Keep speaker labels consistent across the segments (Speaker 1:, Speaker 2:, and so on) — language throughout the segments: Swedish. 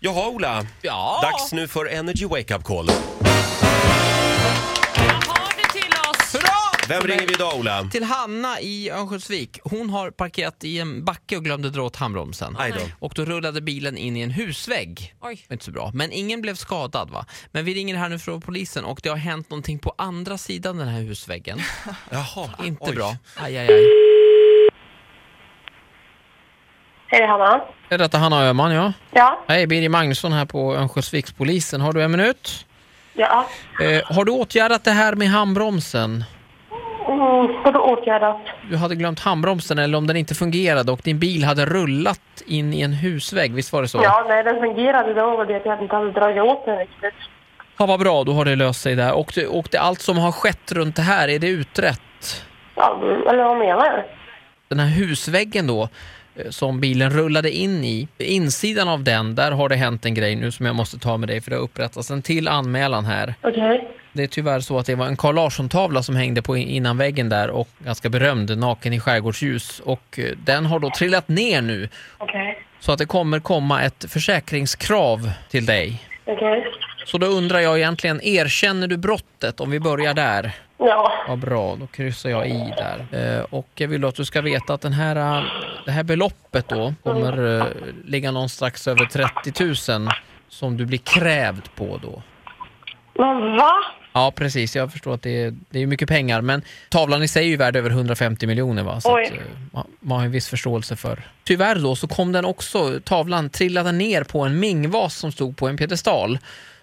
Speaker 1: Jaha Ola,
Speaker 2: Ja.
Speaker 1: dags nu för Energy Wake Up Call.
Speaker 3: Vad har du till oss?
Speaker 2: Bra!
Speaker 1: Vem ringer vi idag Ola?
Speaker 2: Till Hanna i Örnsköldsvik. Hon har parkerat i en backe och glömde dra åt handbromsen.
Speaker 1: Aj då.
Speaker 2: Och då rullade bilen in i en husvägg.
Speaker 3: Oj.
Speaker 2: Inte så bra. Men ingen blev skadad va? Men vi ringer här nu från polisen och det har hänt någonting på andra sidan den här husväggen.
Speaker 1: Jaha.
Speaker 2: Inte
Speaker 1: oj.
Speaker 2: bra. Aj, aj, aj.
Speaker 4: Hej, det är Hanna.
Speaker 2: Är detta Hanna Öhman ja?
Speaker 4: Ja,
Speaker 2: Hej, Birger Magnusson här på Örnsköldsvikspolisen. Har du en minut?
Speaker 4: ja.
Speaker 2: Eh, har du åtgärdat det här med handbromsen?
Speaker 4: Mm, vadå åtgärdat?
Speaker 2: Du hade glömt handbromsen eller om den inte fungerade och din bil hade rullat in i en husvägg, visst var det så?
Speaker 4: Ja, nej, den fungerade då och det att jag inte hade dragit åt den riktigt.
Speaker 2: Ja, vad bra, då har det löst sig där. Och, det, och det, allt som har skett runt det här, är det utrett?
Speaker 4: Ja, eller vad menar du?
Speaker 2: Den här husväggen då, eh, som bilen rullade in i, insidan av den, där har det hänt en grej nu som jag måste ta med dig för det har upprättats en till anmälan här.
Speaker 4: Okej.
Speaker 2: Det är tyvärr så att det var en Carl Larsson-tavla som hängde på innan väggen där och ganska berömd, naken i skärgårdsljus. Och eh, den har då trillat ner nu
Speaker 4: Okej.
Speaker 2: så att det kommer komma ett försäkringskrav till dig.
Speaker 4: Okej.
Speaker 2: Så då undrar jag egentligen, erkänner du brottet om vi börjar där?
Speaker 4: Ja.
Speaker 2: Vad bra, då kryssar jag i där. Eh, och jag vill att du ska veta att den här, eh, det här beloppet då kommer eh, ligga någon strax över 30 000 som du blir krävd på då.
Speaker 4: Men va?
Speaker 2: Ja, precis. Jag förstår att det är, det är mycket pengar, men tavlan i sig är ju värd över 150 miljoner. Va? Så
Speaker 4: Oj.
Speaker 2: att, eh, man- man har en viss förståelse för. Tyvärr då så kom den också, tavlan trillade ner på en mingvas som stod på en piedestal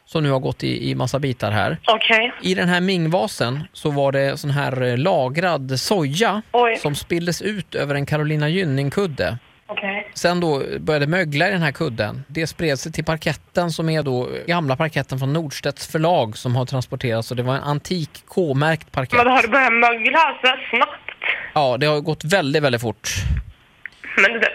Speaker 2: som nu har gått i, i massa bitar här.
Speaker 4: Okej.
Speaker 2: I den här mingvasen så var det sån här eh, lagrad soja
Speaker 4: Oj.
Speaker 2: som spilldes ut över en Carolina Gynning-kudde.
Speaker 4: Okej.
Speaker 2: Sen då började mögla i den här kudden. Det spred sig till parketten som är då eh, gamla parketten från Nordstedts förlag som har transporterats och det var en antik K-märkt parkett.
Speaker 4: Men har du börjat mögla sådär snabbt?
Speaker 2: Ja, det har gått väldigt, väldigt fort.
Speaker 4: Men det...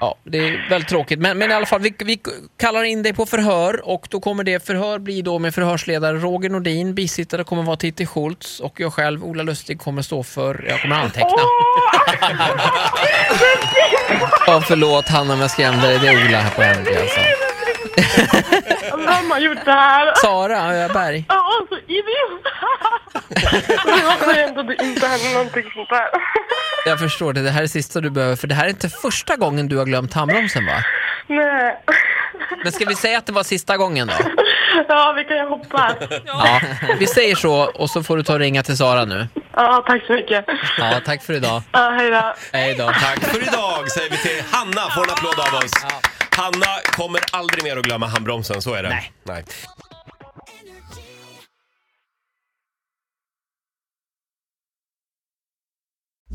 Speaker 2: Ja, det är väldigt tråkigt. Men, men i alla fall, vi, vi kallar in dig på förhör och då kommer det förhör bli då med förhörsledare Roger Nordin, bisittare kommer vara Titti Schultz och jag själv, Ola Lustig, kommer stå för, jag kommer anteckna. Ja, förlåt Hanna om jag skrämde dig, det är Ola här på ND alltså.
Speaker 4: Vem har gjort det här?
Speaker 2: Sara Öberg.
Speaker 4: Ja, så idiot! Jag säger inte att det inte händer någonting sånt där.
Speaker 2: Jag förstår det, det här är det sista du behöver för det här är inte första gången du har glömt handbromsen va?
Speaker 4: Nej.
Speaker 2: Men ska vi säga att det var sista gången då?
Speaker 4: Ja, vi kan ju hoppas.
Speaker 2: Ja, vi säger så och så får du ta och ringa till Sara nu.
Speaker 4: Ja, tack så mycket.
Speaker 2: Ja, tack för idag.
Speaker 4: Ja, hej då.
Speaker 2: Hej då.
Speaker 1: Tack för idag säger vi till Hanna, får en applåd av oss. Hanna kommer aldrig mer att glömma handbromsen, så är det.
Speaker 2: Nej.
Speaker 1: Nej.